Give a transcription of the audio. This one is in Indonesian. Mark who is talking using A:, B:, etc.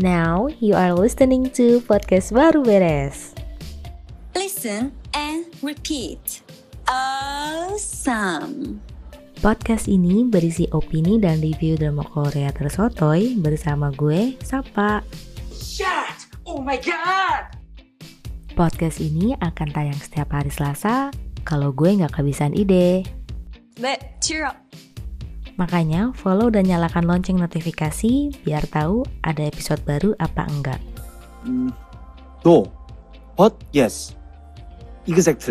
A: Now you are listening to podcast baru beres.
B: Listen and repeat. Awesome.
A: Podcast ini berisi opini dan review drama Korea tersotoy bersama gue, Sapa.
C: Shit! Oh my god!
A: Podcast ini akan tayang setiap hari Selasa kalau gue nggak kehabisan ide.
B: But cheer up.
A: Makanya follow dan nyalakan lonceng notifikasi biar tahu ada episode baru apa enggak.
D: Mm, no. What? Yes. Exactly.